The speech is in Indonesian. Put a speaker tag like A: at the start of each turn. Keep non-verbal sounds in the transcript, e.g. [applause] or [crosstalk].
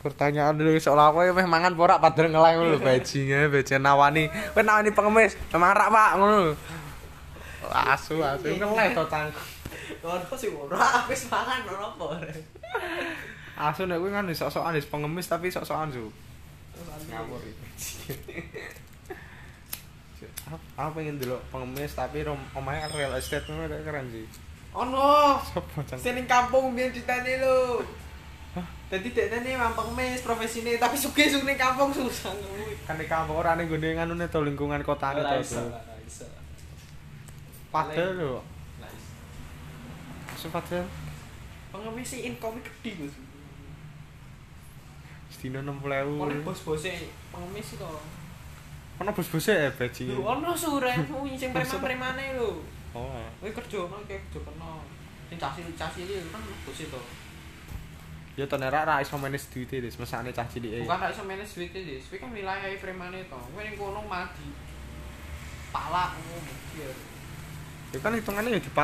A: Pertanyaan dulu seolah aku meh mangan porak padahal ngelang ngono lho bajinge, bajinge nawani. Kowe nawani pengemis, marak Pak ngono lho. Asu asu ngeleh to cang.
B: Ono sing ora wis mangan ono apa.
A: Asu nek kowe kan sok-sokan wis pengemis tapi sok-sokan su. Ngawur iki. [laughs] Aku pengen dulu pengemis tapi rom- omahnya kan real estate ngono kayak keren sih.
B: Ono.
A: Sopo cang?
B: Sing ning kampung biyen ditane lho. Dadi dekne mampang mes profesine tapi sugih sing ning kampung susah kuwi.
A: Kan di kampung ora ning gone nganune to lingkungan kotane to.
B: Ora iso,
A: Su.
B: ora iso.
A: Padahal lho.
B: Ora iso.
A: Asu padahal
B: Pengemis sih income e gede Gus.
A: sedina
B: Ono
A: 60.000.
B: bos-bose pengemis sih kok.
A: Ono bos-bose ya bajinge.
B: Lho ono sore kuwi sing preman-premane lho.
A: Oh.
B: Kowe kerja ono kayak kerja kono. Sing casi-casi iki kan bos itu.
A: Ya to nek ra- ra iso manage duwite wis mesane cah e. cilike.
B: Bukan gak iso manage duit sih, tapi kan wilayah premane to. Kowe ning kono mati. Palak ngono.
A: Ya kan hitungane ya dipal